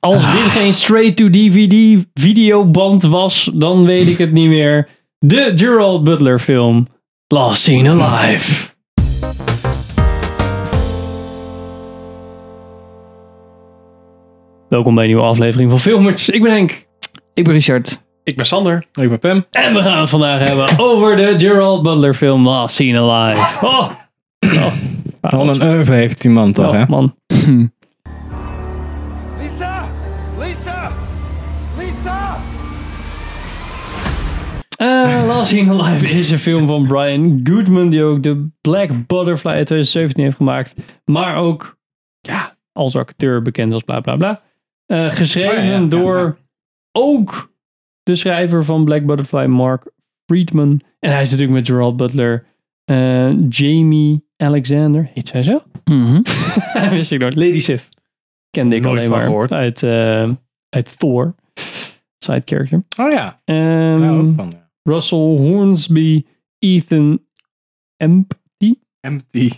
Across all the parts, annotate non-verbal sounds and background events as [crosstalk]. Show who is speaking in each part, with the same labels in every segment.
Speaker 1: Als
Speaker 2: Ah.
Speaker 1: dit geen straight-to-DVD videoband was, dan weet ik het niet meer. De Gerald Butler film Last Seen Alive. Welkom bij een nieuwe aflevering van Filmers. Ik ben Henk.
Speaker 3: Ik ben Richard.
Speaker 2: Ik ben Sander. Ik ben Pam.
Speaker 1: En we gaan het vandaag hebben over de Gerald Butler film Last Seen Alive. Oh,
Speaker 2: Wat een oeuvre heeft die man toch, hè?
Speaker 1: oh man.
Speaker 4: Lisa! Lisa! Lisa!
Speaker 1: Eh, Last Seen [laughs] Alive is een film van Brian Goodman, die ook de Black Butterfly uit 2017 heeft gemaakt. Maar ook ja, als acteur bekend als bla bla bla. Eh, geschreven
Speaker 2: Oh ja, ja, ja,
Speaker 1: door
Speaker 2: ja.
Speaker 1: ook de schrijver van Black Butterfly, Mark Friedman. En hij is natuurlijk met Gerald Butler, eh, Jamie Alexander, heet zij zo? [laughs] Wist ik nooit. Lady Sif. Kende ik
Speaker 2: Mhm. Nooit
Speaker 1: alleen
Speaker 2: van
Speaker 1: maar
Speaker 2: gehoord.
Speaker 1: Uit, eh, uit Thor. Side character.
Speaker 2: Oh ja,
Speaker 1: Ehm,
Speaker 2: daar
Speaker 3: Mm.
Speaker 2: ook van. ja.
Speaker 1: Russell Hornsby, Ethan Empty.
Speaker 2: Empty.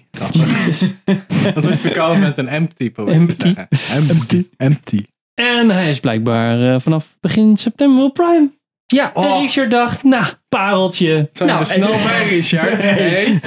Speaker 2: [laughs] Dat is verkouden met een empty proberen
Speaker 1: Empty.
Speaker 2: te zeggen. Empty. Empty.
Speaker 1: En hij is blijkbaar eh, vanaf begin september op Prime.
Speaker 3: Ja,
Speaker 1: En
Speaker 3: oh.
Speaker 1: Richard dacht, nou, pareltje.
Speaker 2: Zijn
Speaker 3: Nou,
Speaker 2: we dus- er snel
Speaker 3: en-
Speaker 2: bij, [laughs] Richard?
Speaker 3: Hey.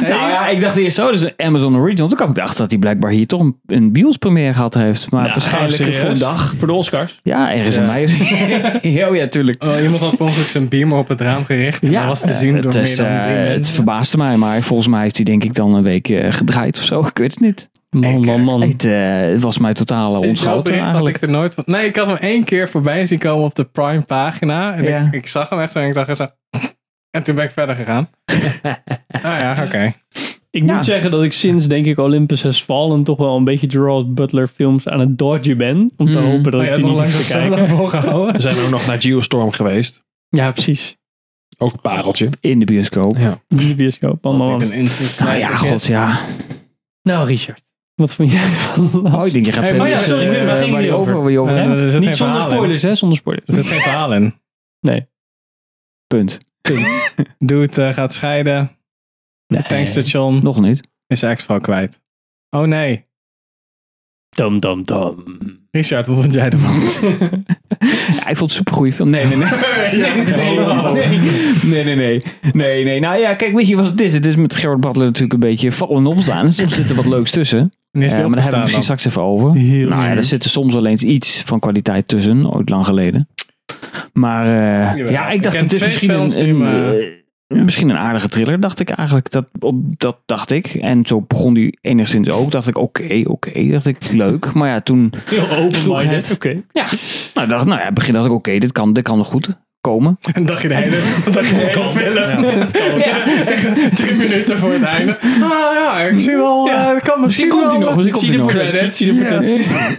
Speaker 3: Nou ja, ik dacht eerst zo, dus een Amazon Original. Toen kwam ik dacht dat hij blijkbaar hier toch een, een bios première gehad heeft. Maar
Speaker 1: Nou,
Speaker 3: waarschijnlijk
Speaker 1: serieus?
Speaker 3: voor een dag.
Speaker 1: Voor de Oscars.
Speaker 3: Ja, ergens in mei.
Speaker 2: [laughs]
Speaker 3: oh ja, tuurlijk.
Speaker 2: Oh, iemand had per ongeluk zijn beamer op het raam gericht. En dat was te zien
Speaker 3: eh,
Speaker 2: door
Speaker 3: het,
Speaker 2: meer
Speaker 3: is,
Speaker 2: dan
Speaker 3: eh,
Speaker 2: drie
Speaker 3: het
Speaker 2: mensen.
Speaker 3: verbaasde mij, maar volgens mij heeft hij denk ik dan een week eh, gedraaid of zo. [laughs] Ik weet het niet.
Speaker 1: Man, man, man.
Speaker 3: Het eh, was mij totaal eh,
Speaker 2: Sinds dat
Speaker 3: ontschoten
Speaker 2: bericht had
Speaker 3: eigenlijk.
Speaker 2: Ik er nooit van. Nee, ik had hem één keer voorbij zien komen op de Prime pagina. En
Speaker 3: Ja.
Speaker 2: ik, ik zag hem echt zo en ik dacht zo... En toen ben ik verder
Speaker 3: [laughs]
Speaker 2: gegaan. ah ja, oké.
Speaker 1: Ik
Speaker 3: Ja.
Speaker 1: moet zeggen dat ik sinds, denk ik, Olympus Has Fallen toch wel een beetje Gerald Butler films aan het dodgen ben. Om te
Speaker 3: Mm.
Speaker 1: hopen dat
Speaker 2: Maar
Speaker 1: ik
Speaker 2: je
Speaker 1: die
Speaker 2: hebt Oh nog
Speaker 1: niet
Speaker 2: langs
Speaker 1: hoef te
Speaker 2: zo
Speaker 1: kijken.
Speaker 2: lang [laughs] volgehouden.
Speaker 5: We zijn ook nog naar Geostorm geweest.
Speaker 1: Ja, precies.
Speaker 5: Ook een pareltje.
Speaker 3: In de bioscoop.
Speaker 1: In de bioscoop. Man, man,
Speaker 2: Ik
Speaker 1: man.
Speaker 2: een instant
Speaker 3: Nou ja,
Speaker 2: classic.
Speaker 3: god ja.
Speaker 1: Nou, Richard. Wat vond jij van
Speaker 3: Oh, ik denk je gaat
Speaker 2: Hey,
Speaker 3: Pam
Speaker 2: maar ja,
Speaker 3: dus,
Speaker 2: sorry,
Speaker 3: eh,
Speaker 2: waar
Speaker 3: waar
Speaker 1: gingen
Speaker 3: je
Speaker 1: jullie over?
Speaker 3: waar je over
Speaker 2: Eh,
Speaker 3: hebt.
Speaker 2: dat is het
Speaker 1: Niet
Speaker 2: geen
Speaker 1: zonder
Speaker 2: verhaal in.
Speaker 1: spoilers, hè? Zonder spoilers.
Speaker 2: Er zit geen verhaal in.
Speaker 3: Punt.
Speaker 2: Dude eh, gaat scheiden.
Speaker 1: Nee.
Speaker 2: Het tankstation
Speaker 3: Nog niet.
Speaker 2: is zijn ex-vrouw kwijt. Oh nee.
Speaker 1: Dum, dum, dum.
Speaker 2: Richard, wat vond jij ervan?
Speaker 3: Ja, ik vond het een supergoeie film. Nee, nee, nee. Nee, nee,
Speaker 2: Oh,
Speaker 3: nee. Nee, nee, nee. Nee, nee. Nou ja, kijk, weet je wat het is? Het is met Gerard Butler natuurlijk een beetje vallen en opstaan. Soms zit er wat leuks tussen.
Speaker 2: En is
Speaker 3: Ja,
Speaker 2: hij
Speaker 3: maar daar hebben we
Speaker 2: opgestaan
Speaker 3: het misschien
Speaker 2: dan?
Speaker 3: straks even over. nou ja, er zit er soms wel eens iets van kwaliteit tussen, ooit lang geleden. Maar eh,
Speaker 2: Jawel.
Speaker 3: ja, ik
Speaker 2: Ik
Speaker 3: dacht,
Speaker 2: ken
Speaker 3: het is
Speaker 2: twee
Speaker 3: misschien
Speaker 2: films
Speaker 3: een,
Speaker 2: die
Speaker 3: een,
Speaker 2: me-
Speaker 3: eh, misschien een aardige thriller, dacht ik eigenlijk. Dat, op, dat dacht ik. En zo begon die enigszins ook. Dacht ik, oké, oké. Dacht ik, leuk. Maar ja, toen
Speaker 1: Heel
Speaker 3: sloeg
Speaker 1: open-minded.
Speaker 3: het.
Speaker 1: Oké.
Speaker 3: Ja, nou, dacht, nou ja, in het begin dacht ik, oké, dit, kan, dit kan nog goed komen.
Speaker 2: En [laughs] dacht je de hele, dacht je de hele film. Echt eh, drie minuten voor het einde. Ah ja, ik zie wel... eh, dat kan misschien
Speaker 3: komt hij
Speaker 2: wel,
Speaker 3: nog,
Speaker 2: eh,
Speaker 3: misschien komt
Speaker 2: zie de
Speaker 3: hij nog.
Speaker 2: credits, zie de credits.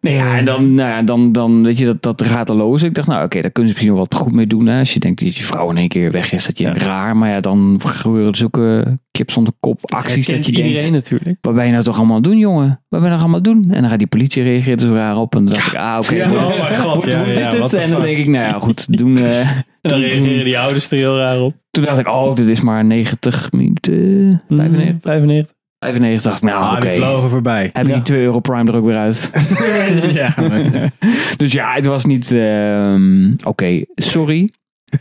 Speaker 3: Nee, ja, en dan, nou ja, dan, dan weet je, dat, dat gaat al los. Ik dacht, nou oké, daar kunnen ze misschien wel wat goed mee doen. Hè? Als je denkt dat je vrouw in één keer weg is, dat je raar. Maar ja, dan gebeuren zulke kip zonder kop acties dat
Speaker 1: Herkent
Speaker 3: je
Speaker 1: iedereen
Speaker 3: denkt,
Speaker 1: natuurlijk.
Speaker 3: wat ben je nou toch allemaal aan het doen, jongen? Wat ben je nou allemaal aan het doen? En dan gaat die politie reageren er zo raar op. En dan dacht ik, ah oké,
Speaker 2: Ja,
Speaker 3: wordt-
Speaker 2: oh mijn
Speaker 3: wordt-
Speaker 2: god. ja,
Speaker 3: wordt
Speaker 2: ja,
Speaker 3: dit
Speaker 2: what
Speaker 3: het?
Speaker 2: the
Speaker 3: En dan
Speaker 2: fuck.
Speaker 3: denk ik, nou ja, goed, doen... eh,
Speaker 1: En dan
Speaker 3: toen-
Speaker 1: reageren die ouders er heel raar op.
Speaker 3: toen dacht ik, oh, dit is maar 90 minuten, 95.
Speaker 1: 95.
Speaker 3: 95 dacht ik, nou
Speaker 2: Mm. Ah,
Speaker 3: oké.
Speaker 2: die vlogen voorbij.
Speaker 3: Hebben
Speaker 1: Ja.
Speaker 3: die 2 euro prime er ook weer uit?
Speaker 2: [laughs] ja, maar-
Speaker 3: Dus ja, het was niet. ehm, Oké,
Speaker 5: [laughs]
Speaker 3: sorry.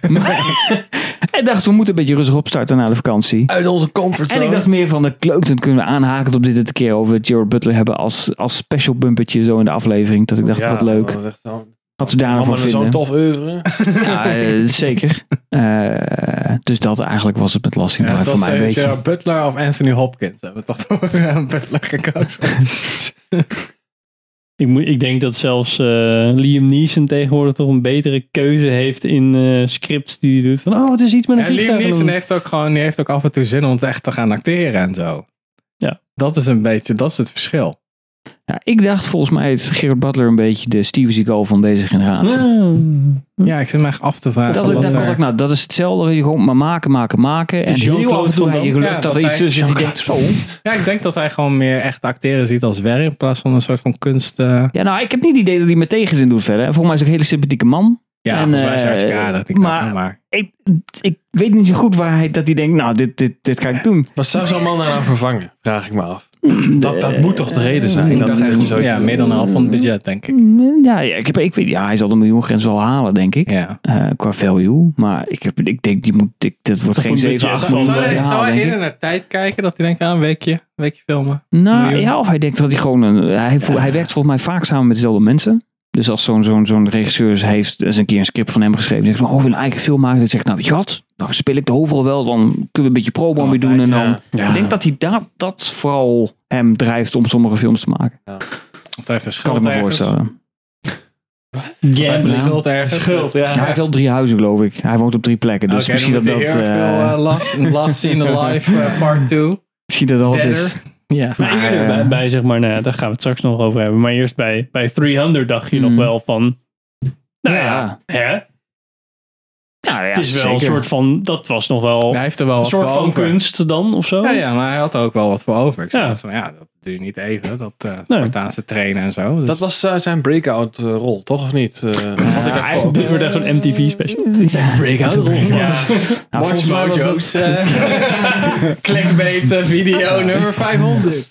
Speaker 3: Maar- ik dacht, we moeten een beetje rustig opstarten na de vakantie.
Speaker 5: Uit onze comfortzone.
Speaker 3: En ik dacht meer van de kleuk, dan kunnen we aanhaken op dit het keer over Gerard Butler hebben als, als special bumpertje zo in de aflevering. Dat ik dacht, wat leuk.
Speaker 5: Dat is echt zo.
Speaker 3: Wat we daar
Speaker 2: Oh,
Speaker 3: nog van
Speaker 5: Allemaal zo'n
Speaker 3: vinden.
Speaker 5: tof oeuvre.
Speaker 3: Ja, eh, zeker. Eh, dus dat eigenlijk was het met Lassie
Speaker 2: Ja,
Speaker 3: ja,
Speaker 2: dat
Speaker 3: voor mij. Weet
Speaker 2: is
Speaker 3: je.
Speaker 2: eh, Butler of Anthony Hopkins. Hebben we toch [laughs] voor eh, Butler gekozen.
Speaker 1: Ik, moet, ik denk dat zelfs eh, Liam Neeson tegenwoordig toch een betere keuze heeft in eh, scripts die hij doet. Van, oh, het is iets met een
Speaker 2: Ja, Liam
Speaker 1: vliegtuig.
Speaker 2: Neeson heeft ook gewoon die heeft ook af en toe zin om het echt te gaan acteren en zo.
Speaker 1: Ja.
Speaker 2: Dat is een beetje, dat is het verschil.
Speaker 3: Ja, ik dacht volgens mij is Gerard Butler een beetje de Steven Seagal van deze generatie.
Speaker 1: Ja.
Speaker 2: Ja, ik zit me echt af te vragen.
Speaker 3: Hm. Dat,
Speaker 2: wat
Speaker 3: ik, dat,
Speaker 2: er-
Speaker 3: kon ik nou, dat is hetzelfde. Je gewoon maar maken, maken, maken. En
Speaker 1: Dus
Speaker 3: heel
Speaker 1: Jean-Claude
Speaker 3: af en toe
Speaker 1: Van
Speaker 3: heb je
Speaker 1: Damme.
Speaker 3: geluk
Speaker 2: Ja,
Speaker 3: dat
Speaker 2: dat
Speaker 3: er iets
Speaker 2: hij-
Speaker 3: tussen die denkt. "Oh." Zo.
Speaker 2: Ja, ik denk dat hij gewoon meer echt acteren ziet als werk in plaats van een soort van kunst. eh
Speaker 3: Ja, nou, ik heb niet het idee dat hij me tegenzin doet verder. Volgens mij is hij een hele sympathieke man.
Speaker 2: ja,
Speaker 3: En,
Speaker 2: volgens mij is hij
Speaker 3: eh,
Speaker 2: hartstikke aardig. Die
Speaker 3: maar-
Speaker 2: maar, maar.
Speaker 3: Ik, ik weet niet zo goed waar hij dat hij denkt, nou, dit, dit, dit ga ik doen.
Speaker 5: Wat zou zo'n man nou vervangen? Vraag ik me af. Dat, dat moet toch de reden zijn?
Speaker 2: dat is
Speaker 5: Dat je
Speaker 2: echt
Speaker 5: zoiets
Speaker 2: ja, meer dan de helft van het budget, denk ik.
Speaker 3: Ja, ja, ik heb, ik weet, ja, hij zal de miljoengrens wel halen, denk ik.
Speaker 2: Ja.
Speaker 3: Eh, qua value. Maar ik, heb, ik denk, die moet, ik, dat wordt geen
Speaker 1: een
Speaker 3: 7,
Speaker 1: budget van-
Speaker 3: 8 miljoen.
Speaker 1: Zou
Speaker 3: wat
Speaker 1: hij-
Speaker 3: hij
Speaker 1: Ja,
Speaker 3: haalt,
Speaker 2: zou hij
Speaker 3: denk ik.
Speaker 2: eerder naar tijd kijken? Dat hij denkt, ah, een weekje, een weekje filmen.
Speaker 3: Nou
Speaker 2: Miljoen.
Speaker 3: ja, of hij denkt dat hij gewoon. Een, hij, vo- hij werkt volgens mij vaak samen met dezelfde mensen. Dus als zo'n zo'n zo'n regisseur heeft eens een keer een script van hem geschreven. Zegt, oh, ik wil een eigen film maken. Dan zegt, nou weet je wat, dan speel ik de hoofdrol wel. Dan kunnen we een beetje promo mee doen. En
Speaker 1: Altijd,
Speaker 3: dan, Ik denk dat hij dat, dat vooral hem drijft om sommige films te maken.
Speaker 2: Of hij heeft een
Speaker 3: Kan
Speaker 2: schuld
Speaker 3: ik me
Speaker 2: ergens.
Speaker 3: voorstellen.
Speaker 2: Hij heeft
Speaker 1: Gambler.
Speaker 2: een schuld ergens.
Speaker 1: Schuld, ja.
Speaker 3: Ja, hij heeft wel drie huizen, geloof ik. Hij woont op drie plekken. Dus
Speaker 2: Oké,
Speaker 3: misschien,
Speaker 2: dan
Speaker 3: dat dat,
Speaker 2: moet hij heel
Speaker 3: eh,
Speaker 2: veel eh, last, last Seen
Speaker 3: [laughs]
Speaker 2: Alive eh, Part 2.
Speaker 3: misschien dat dat het
Speaker 2: Deader.
Speaker 3: is.
Speaker 2: Ja.
Speaker 1: Maar ik ben er bij, bij, zeg maar, nou ja, daar gaan we het straks nog over hebben. Maar eerst bij, bij 300 dacht je
Speaker 3: Mm.
Speaker 1: nog wel van. Nou
Speaker 3: Ja.
Speaker 1: ja, Hè?
Speaker 3: Ja, ja,
Speaker 1: het is wel een
Speaker 3: zeker.
Speaker 1: soort van. Dat was nog wel
Speaker 2: Hij heeft er wel
Speaker 1: een
Speaker 2: wat
Speaker 1: soort
Speaker 2: voor
Speaker 1: van
Speaker 2: over.
Speaker 1: kunst dan of zo.
Speaker 2: Ja, ja, maar hij had er ook wel wat voor over. Ik
Speaker 1: Ja.
Speaker 2: zei van, ja, dat doe je niet even. Dat eh Spartaanse trainen en zo. Dus
Speaker 5: Dat was eh, zijn breakout eh, rol, toch of niet? Eh, had ik echt voor.
Speaker 1: Eigenlijk, dit wordt echt zo'n MTV special.
Speaker 2: breakout.
Speaker 1: Ja.
Speaker 3: Nou, volgens mij was dat-
Speaker 2: [laughs] clickbait eh, video nummer 500.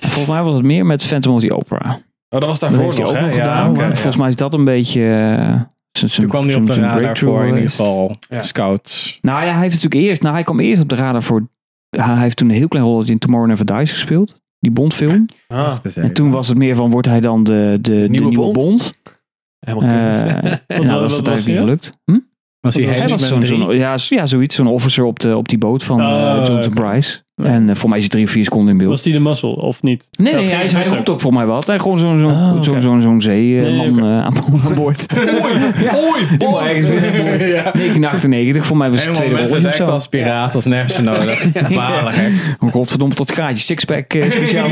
Speaker 3: volgens mij was het meer met Phantom of the Opera.
Speaker 5: Oh, dat was
Speaker 3: Dat
Speaker 5: daarvoor
Speaker 3: heeft hij
Speaker 5: toch,
Speaker 3: ook
Speaker 5: hè?
Speaker 3: nog
Speaker 5: Ja,
Speaker 3: gedaan.
Speaker 5: oké,
Speaker 3: maar
Speaker 5: ja.
Speaker 3: Volgens mij is dat een beetje... eh, zijn- zijn-
Speaker 2: Toen kwam hij
Speaker 3: zijn-
Speaker 2: op de
Speaker 3: zijn
Speaker 2: radar
Speaker 3: breakthrough
Speaker 2: voor in ieder
Speaker 3: geweest.
Speaker 2: geval
Speaker 5: Ja.
Speaker 2: scouts.
Speaker 3: Nou ja, hij heeft natuurlijk eerst... Nou, hij kwam eerst op de radar voor... Hij heeft toen een heel klein rolletje in Tomorrow Never Dies gespeeld. Die Bondfilm.
Speaker 5: Ah,
Speaker 3: En toen was het meer van, wordt hij dan de, de, de nieuwe
Speaker 5: Nieuwe
Speaker 3: Bond?
Speaker 5: Bond?
Speaker 3: Eh, [laughs]
Speaker 5: helemaal kut.
Speaker 3: en
Speaker 1: wat
Speaker 3: nou, dat is dat
Speaker 1: was
Speaker 3: eigenlijk
Speaker 1: hij,
Speaker 3: niet
Speaker 1: ja?
Speaker 3: gelukt. Hm?
Speaker 2: Was hij
Speaker 3: Hij was zo'n, zo'n- ja, zo- ja, zoiets. Zo'n officer op, de, op die boot van eh,
Speaker 1: Oh,
Speaker 3: Jonathan
Speaker 1: oké.
Speaker 3: Price. En eh, voor mij is hij drie, vier seconden in beeld.
Speaker 1: Was die de mazzel of niet?
Speaker 3: Nee,
Speaker 1: Dat
Speaker 3: nee
Speaker 1: ging
Speaker 3: hij,
Speaker 1: niet
Speaker 3: hij
Speaker 1: goed
Speaker 3: roept
Speaker 1: ook.
Speaker 3: ook voor mij wat. Hij gewoon zo'n zo'n
Speaker 1: Ah, oké.
Speaker 3: zo'n- zo'n- zo'n zeeman
Speaker 1: Nee, oké.
Speaker 3: eh, aan,
Speaker 2: [laughs]
Speaker 3: aan boord.
Speaker 2: Oei,
Speaker 3: Die maar ergens weer een boord.
Speaker 2: Ja.
Speaker 3: 1998, voor mij was het
Speaker 2: Helemaal
Speaker 3: tweede
Speaker 2: met
Speaker 3: rolletje of
Speaker 2: bedekt
Speaker 3: zo.
Speaker 2: als piraat, als nergens voor nodig. Balig, hè?
Speaker 3: Godverdomme tot gaatje. Sixpack eh, [laughs] speciaal.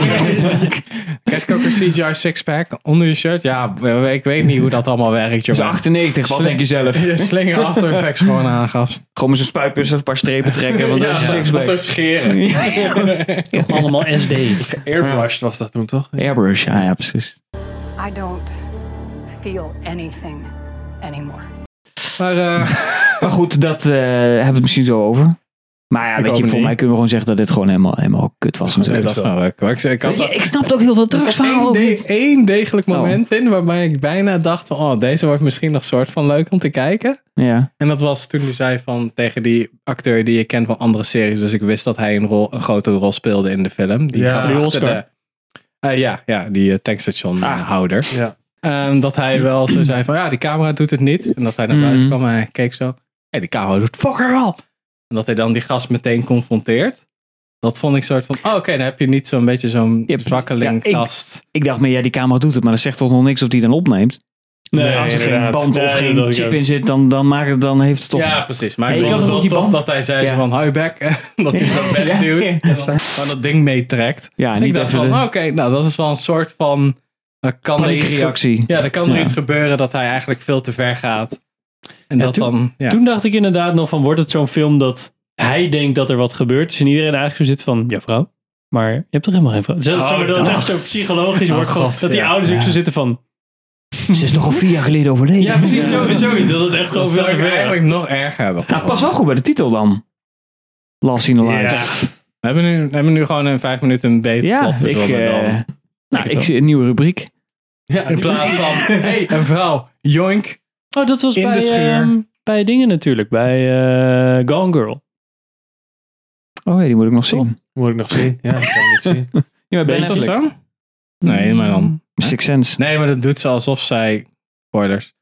Speaker 2: Krijg ik ook een CGI sixpack onder je shirt? Ja, eh, ik weet niet hoe dat allemaal werkt,
Speaker 3: Dat is
Speaker 2: joh.
Speaker 3: 98, wat
Speaker 2: Slim.
Speaker 3: denk je zelf?
Speaker 2: Je slinger After Effects gewoon aan, gast.
Speaker 3: Gewoon met zo'n spuitbus even een paar strepen trekken, want dat is een sixpack.
Speaker 2: scheren.
Speaker 1: Allemaal [laughs] SD.
Speaker 5: Airbrushed was dat toen, toch?
Speaker 3: Airbrush, ja, ja precies.
Speaker 6: I don't feel anything anymore.
Speaker 2: Maar eh,
Speaker 3: Maar goed, dat eh, hebben we het misschien zo over. Maar ja,
Speaker 2: Ik
Speaker 3: weet
Speaker 2: hoop
Speaker 3: je,
Speaker 2: het
Speaker 3: voor
Speaker 2: niet.
Speaker 3: mij kunnen we gewoon zeggen dat dit gewoon helemaal, helemaal kut was
Speaker 2: nee,
Speaker 3: natuurlijk.
Speaker 2: dat snap ik. Maar ik, zei- ik had
Speaker 3: Weet je,
Speaker 2: dat-
Speaker 3: ik snap ook heel dat
Speaker 2: er zat één,
Speaker 3: drugsverhaal ook
Speaker 2: de-
Speaker 3: niet. Oh.
Speaker 2: één degelijk moment in waarbij ik bijna dacht van, oh, deze wordt misschien nog soort van leuk om te kijken.
Speaker 3: Ja.
Speaker 2: En dat was toen hij zei van tegen die acteur die je kent van andere series. Dus ik wist dat hij een, rol, een grotere rol speelde in de film. Die
Speaker 5: Ja.
Speaker 2: gaat
Speaker 5: Die
Speaker 2: achter
Speaker 1: Oscar.
Speaker 2: de- eh, ja, ja, die eh, tankstation
Speaker 3: Ah.
Speaker 2: eh, houder.
Speaker 5: Ja.
Speaker 2: Ehm, dat hij wel zo zei van ja, die camera doet het niet. En dat hij naar
Speaker 3: Mhm.
Speaker 2: buiten kwam en hij keek zo. Hé, die camera doet fucker wel. En dat hij dan die gast meteen confronteert. Dat vond ik soort van, oh, oké, dan heb je niet zo'n beetje zo'n
Speaker 3: Je hebt-
Speaker 2: zwakkeling
Speaker 3: ja, ik-
Speaker 2: gast.
Speaker 3: Ik dacht meer, ja, die camera doet het, maar dat zegt toch nog niks of die dan opneemt.
Speaker 1: Nee,
Speaker 3: Als er geen
Speaker 1: inderdaad.
Speaker 3: band
Speaker 1: Nee,
Speaker 3: of
Speaker 1: dat
Speaker 3: geen
Speaker 1: dacht ik
Speaker 3: chip
Speaker 1: ook.
Speaker 3: in zit, dan, dan, maakt het, dan heeft het toch...
Speaker 2: Ja, precies. Maar
Speaker 3: Ja,
Speaker 2: ik
Speaker 3: je
Speaker 2: vond
Speaker 3: kan
Speaker 2: het
Speaker 3: toch
Speaker 2: wel
Speaker 3: ook die
Speaker 2: tof
Speaker 3: band-
Speaker 2: dat hij zei zo
Speaker 3: Ja.
Speaker 2: van, hou je bek. [laughs] dat hij dat
Speaker 3: Ja.
Speaker 2: weg duwt. En dan gewoon dat ding meetrekt.
Speaker 3: Ja,
Speaker 2: En ik
Speaker 3: niet
Speaker 2: dacht
Speaker 3: even
Speaker 2: van,
Speaker 3: de-
Speaker 2: oké, nou dat is wel een soort van, eh, kan er iets
Speaker 3: Panikreactie.
Speaker 2: Ja, dan kan er
Speaker 3: Ja.
Speaker 2: iets gebeuren dat hij eigenlijk veel te ver gaat. En dat
Speaker 1: toen-
Speaker 2: dan, ja.
Speaker 1: Toen dacht ik inderdaad nog van, wordt het zo'n film dat hij denkt dat er wat gebeurt? Dus en iedereen eigenlijk zo zit van, ja vrouw, maar je hebt toch helemaal geen vrouw? Zelfs
Speaker 2: Oh,
Speaker 1: zo, dat het echt zo psychologisch wordt, gewoon,
Speaker 2: God,
Speaker 1: dat die
Speaker 2: ja.
Speaker 1: ouders ook zo zitten van,
Speaker 3: Ze is nogal vier jaar geleden overleden.
Speaker 1: ja precies, zo, zoiets. Dat het echt
Speaker 2: dat
Speaker 1: gewoon veel
Speaker 2: zou
Speaker 1: te
Speaker 2: ik
Speaker 1: ver
Speaker 2: eigenlijk nog erger hebben.
Speaker 3: Nou, pas wel goed bij de titel dan. Last in the Life.
Speaker 1: Ja.
Speaker 2: We hebben, nu, we hebben nu gewoon in vijf minuten een beter
Speaker 3: Ja,
Speaker 1: dus
Speaker 2: plot
Speaker 3: ik,
Speaker 2: verzonnen
Speaker 3: eh,
Speaker 2: dan.
Speaker 3: nou, ik
Speaker 1: wel.
Speaker 3: zie een nieuwe rubriek. [laughs]
Speaker 2: in plaats van, hey, een vrouw, joink.
Speaker 1: Oh, dat was
Speaker 2: In de
Speaker 1: bij,
Speaker 2: schuur.
Speaker 1: ehm, bij dingen natuurlijk, bij eh, Gone Girl.
Speaker 3: Oh ja, die moet ik nog zien.
Speaker 5: Moet ik nog zien? Ja, dat kan ik niet zien.
Speaker 3: Ja,
Speaker 1: Ben
Speaker 3: ben
Speaker 1: je dat
Speaker 3: Affleck.
Speaker 1: zo?
Speaker 2: Nee, maar dan.
Speaker 3: Six Sense.
Speaker 2: Nee, maar dat doet ze alsof zij... [laughs] Spoilers.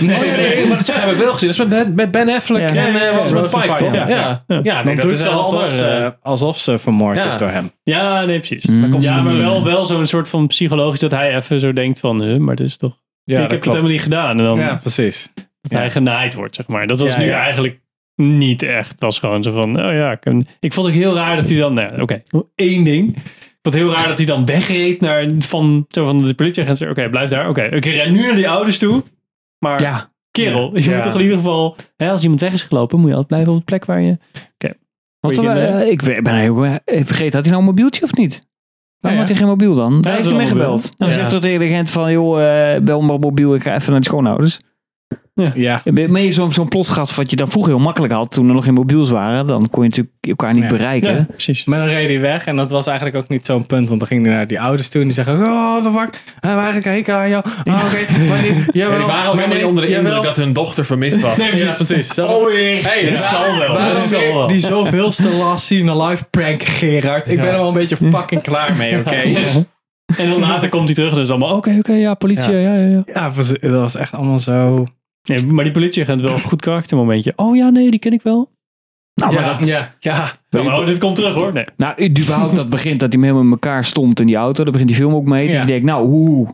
Speaker 1: nee, nee,
Speaker 2: maar dat heb ik wel gezien. Dat is met, met Ben Affleck
Speaker 3: Ja. en, eh, Rosamund Pike, toch?
Speaker 1: Ja, ja. ja.
Speaker 2: Ja,
Speaker 1: Dan
Speaker 2: nee, dat
Speaker 1: doet
Speaker 2: is eh,
Speaker 1: ze
Speaker 2: alsof
Speaker 1: alsof
Speaker 2: ze,
Speaker 1: ze-
Speaker 2: alsof ze vermoord
Speaker 1: Ja.
Speaker 2: is door hem.
Speaker 1: Ja, nee, precies.
Speaker 3: Mm. Daar komt ze
Speaker 1: Ja, maar
Speaker 3: natuurlijk.
Speaker 1: wel, wel zo'n soort van psychologisch dat hij even zo denkt van, huh, maar dit is toch... ik heb het helemaal niet gedaan. En dan
Speaker 2: Ja, precies.
Speaker 1: dat hij genaaid wordt, zeg maar. Dat was
Speaker 2: Ja,
Speaker 1: nu
Speaker 2: ja.
Speaker 1: eigenlijk niet echt. Dat was gewoon zo van, oh ja. Ik, ik vond het heel raar dat hij dan... Nou, Oké, één ding. Ik vond het heel raar dat hij dan wegreed naar, van, zo van de politieagent. zei, Oké, blijf daar. Oké, ik ren nu naar die ouders toe. Maar
Speaker 3: Ja.
Speaker 1: kerel, je
Speaker 5: Ja.
Speaker 1: moet toch in ieder geval... Hè, als iemand weg is gelopen, moet je altijd blijven op de plek waar je...
Speaker 3: Want
Speaker 1: Goeie
Speaker 3: eh,
Speaker 1: kinderen.
Speaker 3: ik ben heel eh, vergeten, had hij nou een mobieltje of niet?
Speaker 2: Ja, ja.
Speaker 3: Waarom had hij geen mobiel dan? Daar
Speaker 1: dat
Speaker 3: heeft
Speaker 1: is
Speaker 3: hij
Speaker 1: wel
Speaker 3: mee
Speaker 1: een
Speaker 3: gebeld.
Speaker 1: mobiel.
Speaker 3: Dan
Speaker 1: Ja.
Speaker 3: zegt hij tegen de agent van, joh, eh, bel maar op mobiel, ik ga even naar de schoonouders.
Speaker 2: Ja.
Speaker 3: Ben je zo'n zo'n plotgat wat je dan vroeger heel makkelijk had toen er nog geen mobiels waren? Dan kon je natuurlijk elkaar niet
Speaker 2: Ja.
Speaker 3: bereiken.
Speaker 1: Ja, precies.
Speaker 2: Maar dan reed hij weg en dat was eigenlijk ook niet zo'n punt. Want dan ging hij naar die ouders toe en die zeggen... Oh, what the fuck? Hij heeft eigenlijk hekel aan jou. Ah, oké. Maar nee, jawel,
Speaker 5: die waren ook
Speaker 2: maar
Speaker 5: helemaal niet
Speaker 2: nee,
Speaker 5: onder de
Speaker 2: jawel.
Speaker 5: indruk dat hun dochter vermist
Speaker 2: [laughs]
Speaker 5: was.
Speaker 2: Nee, precies. Oh, precies. Zo-
Speaker 5: hey, het zal wel.
Speaker 2: Waarom
Speaker 5: Het zal
Speaker 2: weer
Speaker 5: wel.
Speaker 2: Die zoveelste last zien live prank, Gerard. Ik ben er wel een beetje fucking klaar mee, oké? [laughs]
Speaker 1: En dan later komt hij terug en is allemaal, oké, oké, ja, politie, ja, ja, ja. ja.
Speaker 2: Ja, dat was echt allemaal zo...
Speaker 1: Nee, maar die politieagent wel een goed karaktermomentje. Oh ja, nee, die ken ik wel.
Speaker 3: Nou, maar
Speaker 5: Ja.
Speaker 3: dat,
Speaker 2: Ja.
Speaker 5: Ja,
Speaker 1: Nou, maar, oh, dit komt terug hoor. Nee.
Speaker 3: nou, überhaupt dat begint dat hij helemaal in elkaar stomt in die auto. Daar begint die film ook mee.
Speaker 2: Ja.
Speaker 3: En ik denk, nou, hoe?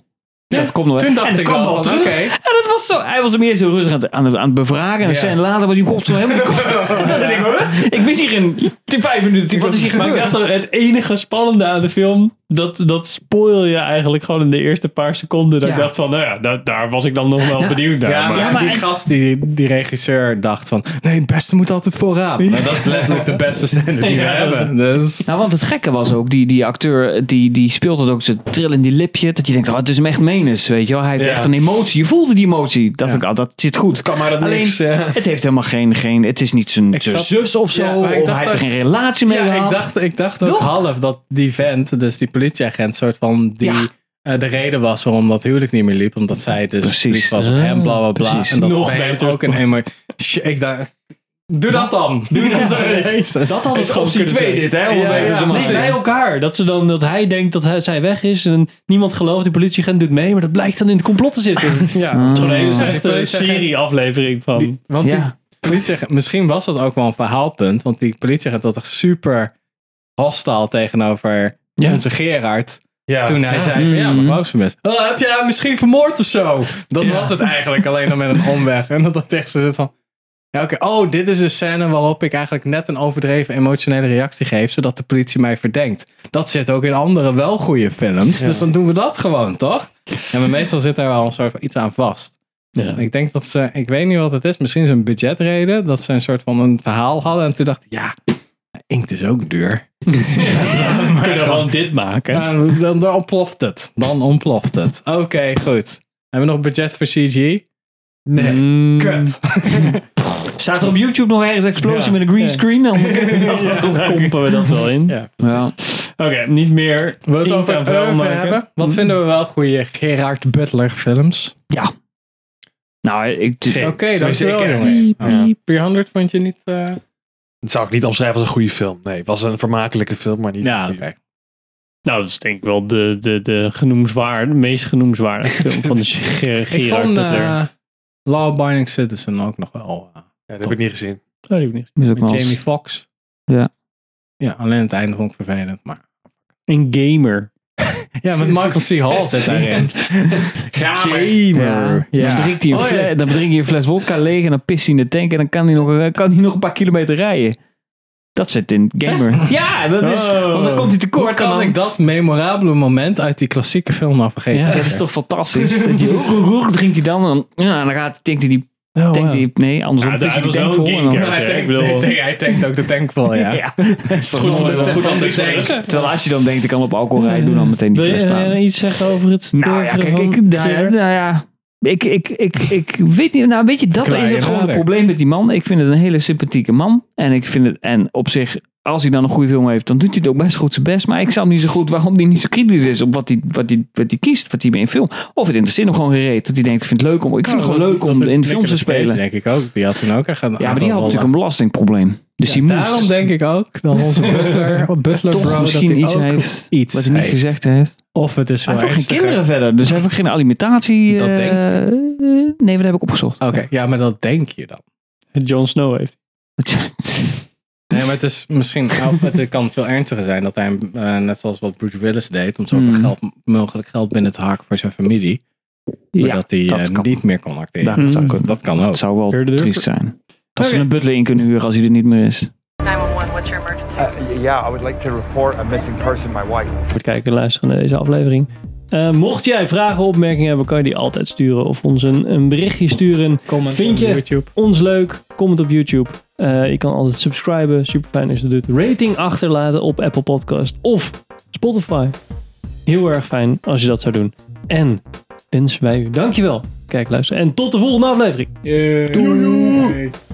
Speaker 3: dat komt nog wel.
Speaker 2: Toen dacht
Speaker 3: en dat
Speaker 2: ik
Speaker 3: kwam
Speaker 2: wel van,
Speaker 3: wel terug.
Speaker 2: oké.
Speaker 3: En dat was zo. Hij was hem eerst heel rustig aan het, aan het, aan het bevragen. En,
Speaker 2: Ja.
Speaker 3: en later was hij op zo helemaal...
Speaker 2: [laughs]
Speaker 3: dat ik, huh? ik mis hier in in vijf minuten. Wat is hier
Speaker 1: Maar
Speaker 3: gebeurd?
Speaker 1: dat is het enige spannende aan de film. Dat, dat spoil je eigenlijk gewoon in de eerste paar seconden. Dat
Speaker 3: Ja.
Speaker 1: ik dacht van, nou ja, da- daar was ik dan nog wel benieuwd naar.
Speaker 2: Ja, maar,
Speaker 1: maar-
Speaker 3: Ja, maar
Speaker 2: die
Speaker 3: en-
Speaker 2: gast, die, die regisseur, dacht van... Nee, het beste moet altijd vooraan. Nou, dat is letterlijk de beste scène die we
Speaker 1: Ja, dat is-
Speaker 2: hebben. Dus...
Speaker 3: Nou, want het gekke was ook, die, die acteur, die, die speelt het ook zo trill in die lipje. Dat je denkt, oh, het is hem echt menens, weet je wel. Hij heeft
Speaker 2: Ja.
Speaker 3: echt een emotie. Je voelde die emotie. Dacht ik, oh, dat zit goed.
Speaker 5: kan maar dat
Speaker 3: Alleen,
Speaker 5: niks. eh.
Speaker 3: het heeft helemaal geen, geen het is niet zijn, zijn
Speaker 2: zat-
Speaker 3: zus of zo.
Speaker 2: Ja, maar
Speaker 3: of
Speaker 2: ik
Speaker 3: hij
Speaker 2: dacht
Speaker 3: heeft er
Speaker 2: ook-
Speaker 3: geen relatie mee
Speaker 2: Ja,
Speaker 3: gehad.
Speaker 2: ik dacht, ik dacht ook
Speaker 3: Toch?
Speaker 2: half dat die vent, dus die politieagent, soort van die...
Speaker 3: Ja.
Speaker 2: eh, de reden was waarom dat huwelijk niet meer liep, omdat zij dus
Speaker 3: Precies. Ah,
Speaker 2: verliefd was op hem, bla bla bla.
Speaker 3: Precies.
Speaker 2: En dat
Speaker 1: Nog
Speaker 2: bij hem
Speaker 1: beter.
Speaker 2: Ook een hemel. Shit, Ik dacht, doe dat [laughs] dan. Doe dat dan. Jezus.
Speaker 3: dat had
Speaker 1: is
Speaker 3: het
Speaker 1: gewoon
Speaker 3: optie
Speaker 1: kunnen
Speaker 3: 2
Speaker 1: zijn.
Speaker 3: dit, hè? om
Speaker 2: Ja,
Speaker 3: even
Speaker 2: ja,
Speaker 3: te
Speaker 1: Nee,
Speaker 3: maken.
Speaker 1: bij elkaar. Dat, ze dan, dat hij denkt dat hij, zij weg is en niemand gelooft. De politieagent doet mee, maar dat blijkt dan in het complot te zitten. ja, het is gewoon een hele slechte
Speaker 2: politieagent-
Speaker 1: serie-aflevering van...
Speaker 2: Die- want die
Speaker 3: Ja.
Speaker 2: politieagent, misschien was dat ook wel een verhaalpunt, want die politieagent was echt super hostile tegenover
Speaker 1: Ja.
Speaker 2: onze Gerard.
Speaker 5: Ja.
Speaker 2: Toen hij zei van ja, mijn
Speaker 1: Mm.
Speaker 2: vrouw is vermist. Oh, heb je haar misschien vermoord of zo? Dat was het eigenlijk, alleen dan met een omweg. En dat dat echt zo zit van... Ja, oké. Oh, dit is een scène waarop ik eigenlijk net een overdreven emotionele reactie geef, zodat de politie mij verdenkt. Dat zit ook in andere wel goede films, dus dan doen we dat gewoon, toch? Ja, maar meestal zit daar wel een soort van iets aan vast.
Speaker 1: Ja.
Speaker 2: En Ik denk dat ze, ik weet niet wat het is, misschien is het een budgetreden, dat ze een soort van een verhaal hadden en toen dacht ik, ja, inkt is ook duur.
Speaker 1: We kunnen gewoon dit maken.
Speaker 2: Ja, dan, dan ontploft het. Dan ontploft het. Oké, goed. Hebben we nog budget voor Hmm. CG? Nee.
Speaker 1: Mm.
Speaker 2: Kut.
Speaker 3: Staat er op YouTube nog ergens explosie
Speaker 1: Ja.
Speaker 3: met een green
Speaker 1: Ja.
Speaker 3: screen? Dan
Speaker 1: [laughs]
Speaker 3: [laughs]
Speaker 1: Dat kompen we dat wel in.
Speaker 2: Ja.
Speaker 3: ja.
Speaker 1: Oké, niet meer.
Speaker 2: Wil je het
Speaker 1: Inkt
Speaker 2: over
Speaker 1: aan
Speaker 2: het
Speaker 1: vuil
Speaker 2: oeuvre
Speaker 1: maken.
Speaker 2: hebben? Wat vinden we wel goede Gerard Butler films?
Speaker 3: Nou, ik...
Speaker 2: Oké,
Speaker 5: tenminste,
Speaker 2: dankjewel
Speaker 5: ik ken
Speaker 2: jongens.
Speaker 5: geen.
Speaker 2: Ja. 300 vond je niet... eh,
Speaker 5: Dat zou ik niet omschrijven als een goede film. Nee, het was een vermakelijke film, maar niet
Speaker 2: Ja,
Speaker 5: een
Speaker 2: oké.
Speaker 5: goede
Speaker 1: Nou, dat is denk ik wel de, de, de genoemswaarde, meest genoemswaardige film van de Ger-
Speaker 2: Ik
Speaker 1: Gerard
Speaker 2: vond
Speaker 1: Butler. Nou,
Speaker 2: eh, Law Abiding Citizen ook nog wel. eh,
Speaker 5: Ja, dat heb ik niet gezien.
Speaker 1: Oh, die heb ik niet.
Speaker 3: Is ook
Speaker 2: met
Speaker 3: wel eens-
Speaker 2: Jamie Foxx.
Speaker 3: Ja.
Speaker 2: Ja, alleen het einde vond ik vervelend. Maar...
Speaker 1: Een gamer.
Speaker 2: Ja, met Michael C. Hall zit daarin.
Speaker 3: Ja.
Speaker 2: Gamer.
Speaker 3: Dan, drinkt hij een
Speaker 2: Oh, ja.
Speaker 3: fle- dan drink je een fles wodka leeg en dan pist hij in de tank en dan kan hij nog, eh, kan hij nog een paar kilometer rijden. Dat zit in Gamer. Ja, dat is.
Speaker 1: Oh.
Speaker 3: Want dan komt hij
Speaker 2: Hoe
Speaker 3: tekort en
Speaker 2: kan
Speaker 3: dan.
Speaker 2: ik dat memorabele moment uit die klassieke film nou vergeten?
Speaker 3: Ja, dat is toch fantastisch. dat je, roer, roer, drinkt hij dan en dan, ja, en dan gaat, denkt hij die.
Speaker 1: Oh,
Speaker 3: tank
Speaker 1: wow.
Speaker 3: die nee, andersom.
Speaker 1: Ja,
Speaker 3: pist hij
Speaker 1: daar
Speaker 3: die
Speaker 1: was
Speaker 3: tank
Speaker 1: wel
Speaker 3: vol.
Speaker 1: een
Speaker 3: En dan,
Speaker 1: gamer.
Speaker 2: Hij
Speaker 1: Ja, ik
Speaker 2: tankt,
Speaker 1: bedoel-
Speaker 2: hij tankt- hij tankt ook de tank vol, ja.
Speaker 3: ja. dat is toch wel mooi.
Speaker 1: Goed
Speaker 2: van de
Speaker 1: antwoord voor
Speaker 2: tank.
Speaker 1: de rest.
Speaker 3: Terwijl als je dan denkt, ik kan op alcohol rijden, doe dan meteen die
Speaker 1: Wil je
Speaker 3: fles maar.
Speaker 1: eh, iets zeggen over het
Speaker 3: Nou ja,
Speaker 1: oeuvre
Speaker 3: kijk,
Speaker 1: van
Speaker 3: ik, nou, ja,
Speaker 1: Gerard?
Speaker 3: nou ja, ik, ik, ik, ik weet niet. Nou, weet je, dat
Speaker 2: Kleine
Speaker 3: is het gewoon het
Speaker 2: vader.
Speaker 3: probleem met die man. Ik vind het een hele sympathieke man. En ik vind het, en op zich, als hij dan een goede film heeft, dan doet hij het ook best goed zijn best. Maar ik snap niet zo goed waarom hij niet zo kritisch is op wat hij, wat hij, wat hij kiest, wat hij mee in film. Of het interesseert hem gewoon gereed. Dat hij denkt, ik vind het leuk om, ik
Speaker 2: Nou,
Speaker 3: vind het gewoon leuk om in film te spelen.
Speaker 2: denk ik ook. Die had toen ook echt een
Speaker 3: Ja, maar die
Speaker 2: aantal
Speaker 3: had natuurlijk een
Speaker 2: rollen.
Speaker 3: belastingprobleem. Dus die moest
Speaker 2: Daarom denk ik ook dat onze Butler, butler
Speaker 3: toch
Speaker 2: bro, dat
Speaker 3: misschien
Speaker 2: hij
Speaker 3: iets
Speaker 2: ook
Speaker 3: heeft
Speaker 2: iets
Speaker 3: wat hij niet
Speaker 2: heeft.
Speaker 3: gezegd heeft.
Speaker 2: Of het is
Speaker 3: Hij
Speaker 2: wel
Speaker 3: heeft ook geen
Speaker 2: ernstiger.
Speaker 3: kinderen verder, dus hij heeft ook geen alimentatie.
Speaker 2: Dat
Speaker 3: eh,
Speaker 2: denk
Speaker 3: Nee, dat heb ik opgezocht.
Speaker 2: Oké, ja, maar dat denk je dan.
Speaker 1: Jon Snow heeft.
Speaker 3: [laughs]
Speaker 2: Nee, maar het is misschien, nou, of het kan veel ernstiger zijn dat hij, eh, net zoals wat Bruce Willis deed, om zoveel
Speaker 3: Hmm.
Speaker 2: geld, mogelijk geld binnen te haken voor zijn familie, maar
Speaker 3: ja,
Speaker 2: dat hij
Speaker 3: dat
Speaker 2: eh,
Speaker 3: kan.
Speaker 2: niet meer kon acteren.
Speaker 3: dat zou kunnen.
Speaker 2: Dat kan ook.
Speaker 3: Het zou wel
Speaker 1: Heurde er-
Speaker 3: triest zijn. Dat ze
Speaker 1: Oké.
Speaker 3: een butler in kunnen huren als hij er niet meer is.
Speaker 7: 911, what's your emergency?
Speaker 4: Uh, y- yeah, I would like to report a missing person, my wife.
Speaker 1: voor het kijken en luisteren naar deze aflevering. Eh, mocht jij vragen of opmerkingen hebben, kan je die altijd sturen of ons een, een berichtje sturen.
Speaker 2: Comment
Speaker 1: Vind
Speaker 2: op
Speaker 1: je
Speaker 2: YouTube.
Speaker 1: ons leuk? Comment op YouTube. Eh, je kan altijd subscriben, super fijn als je dat doet. Rating achterlaten op Apple Podcast of Spotify. Heel erg fijn als je dat zou doen. En wensen wij u dankjewel kijken, luisteren. En tot de volgende aflevering. Doei.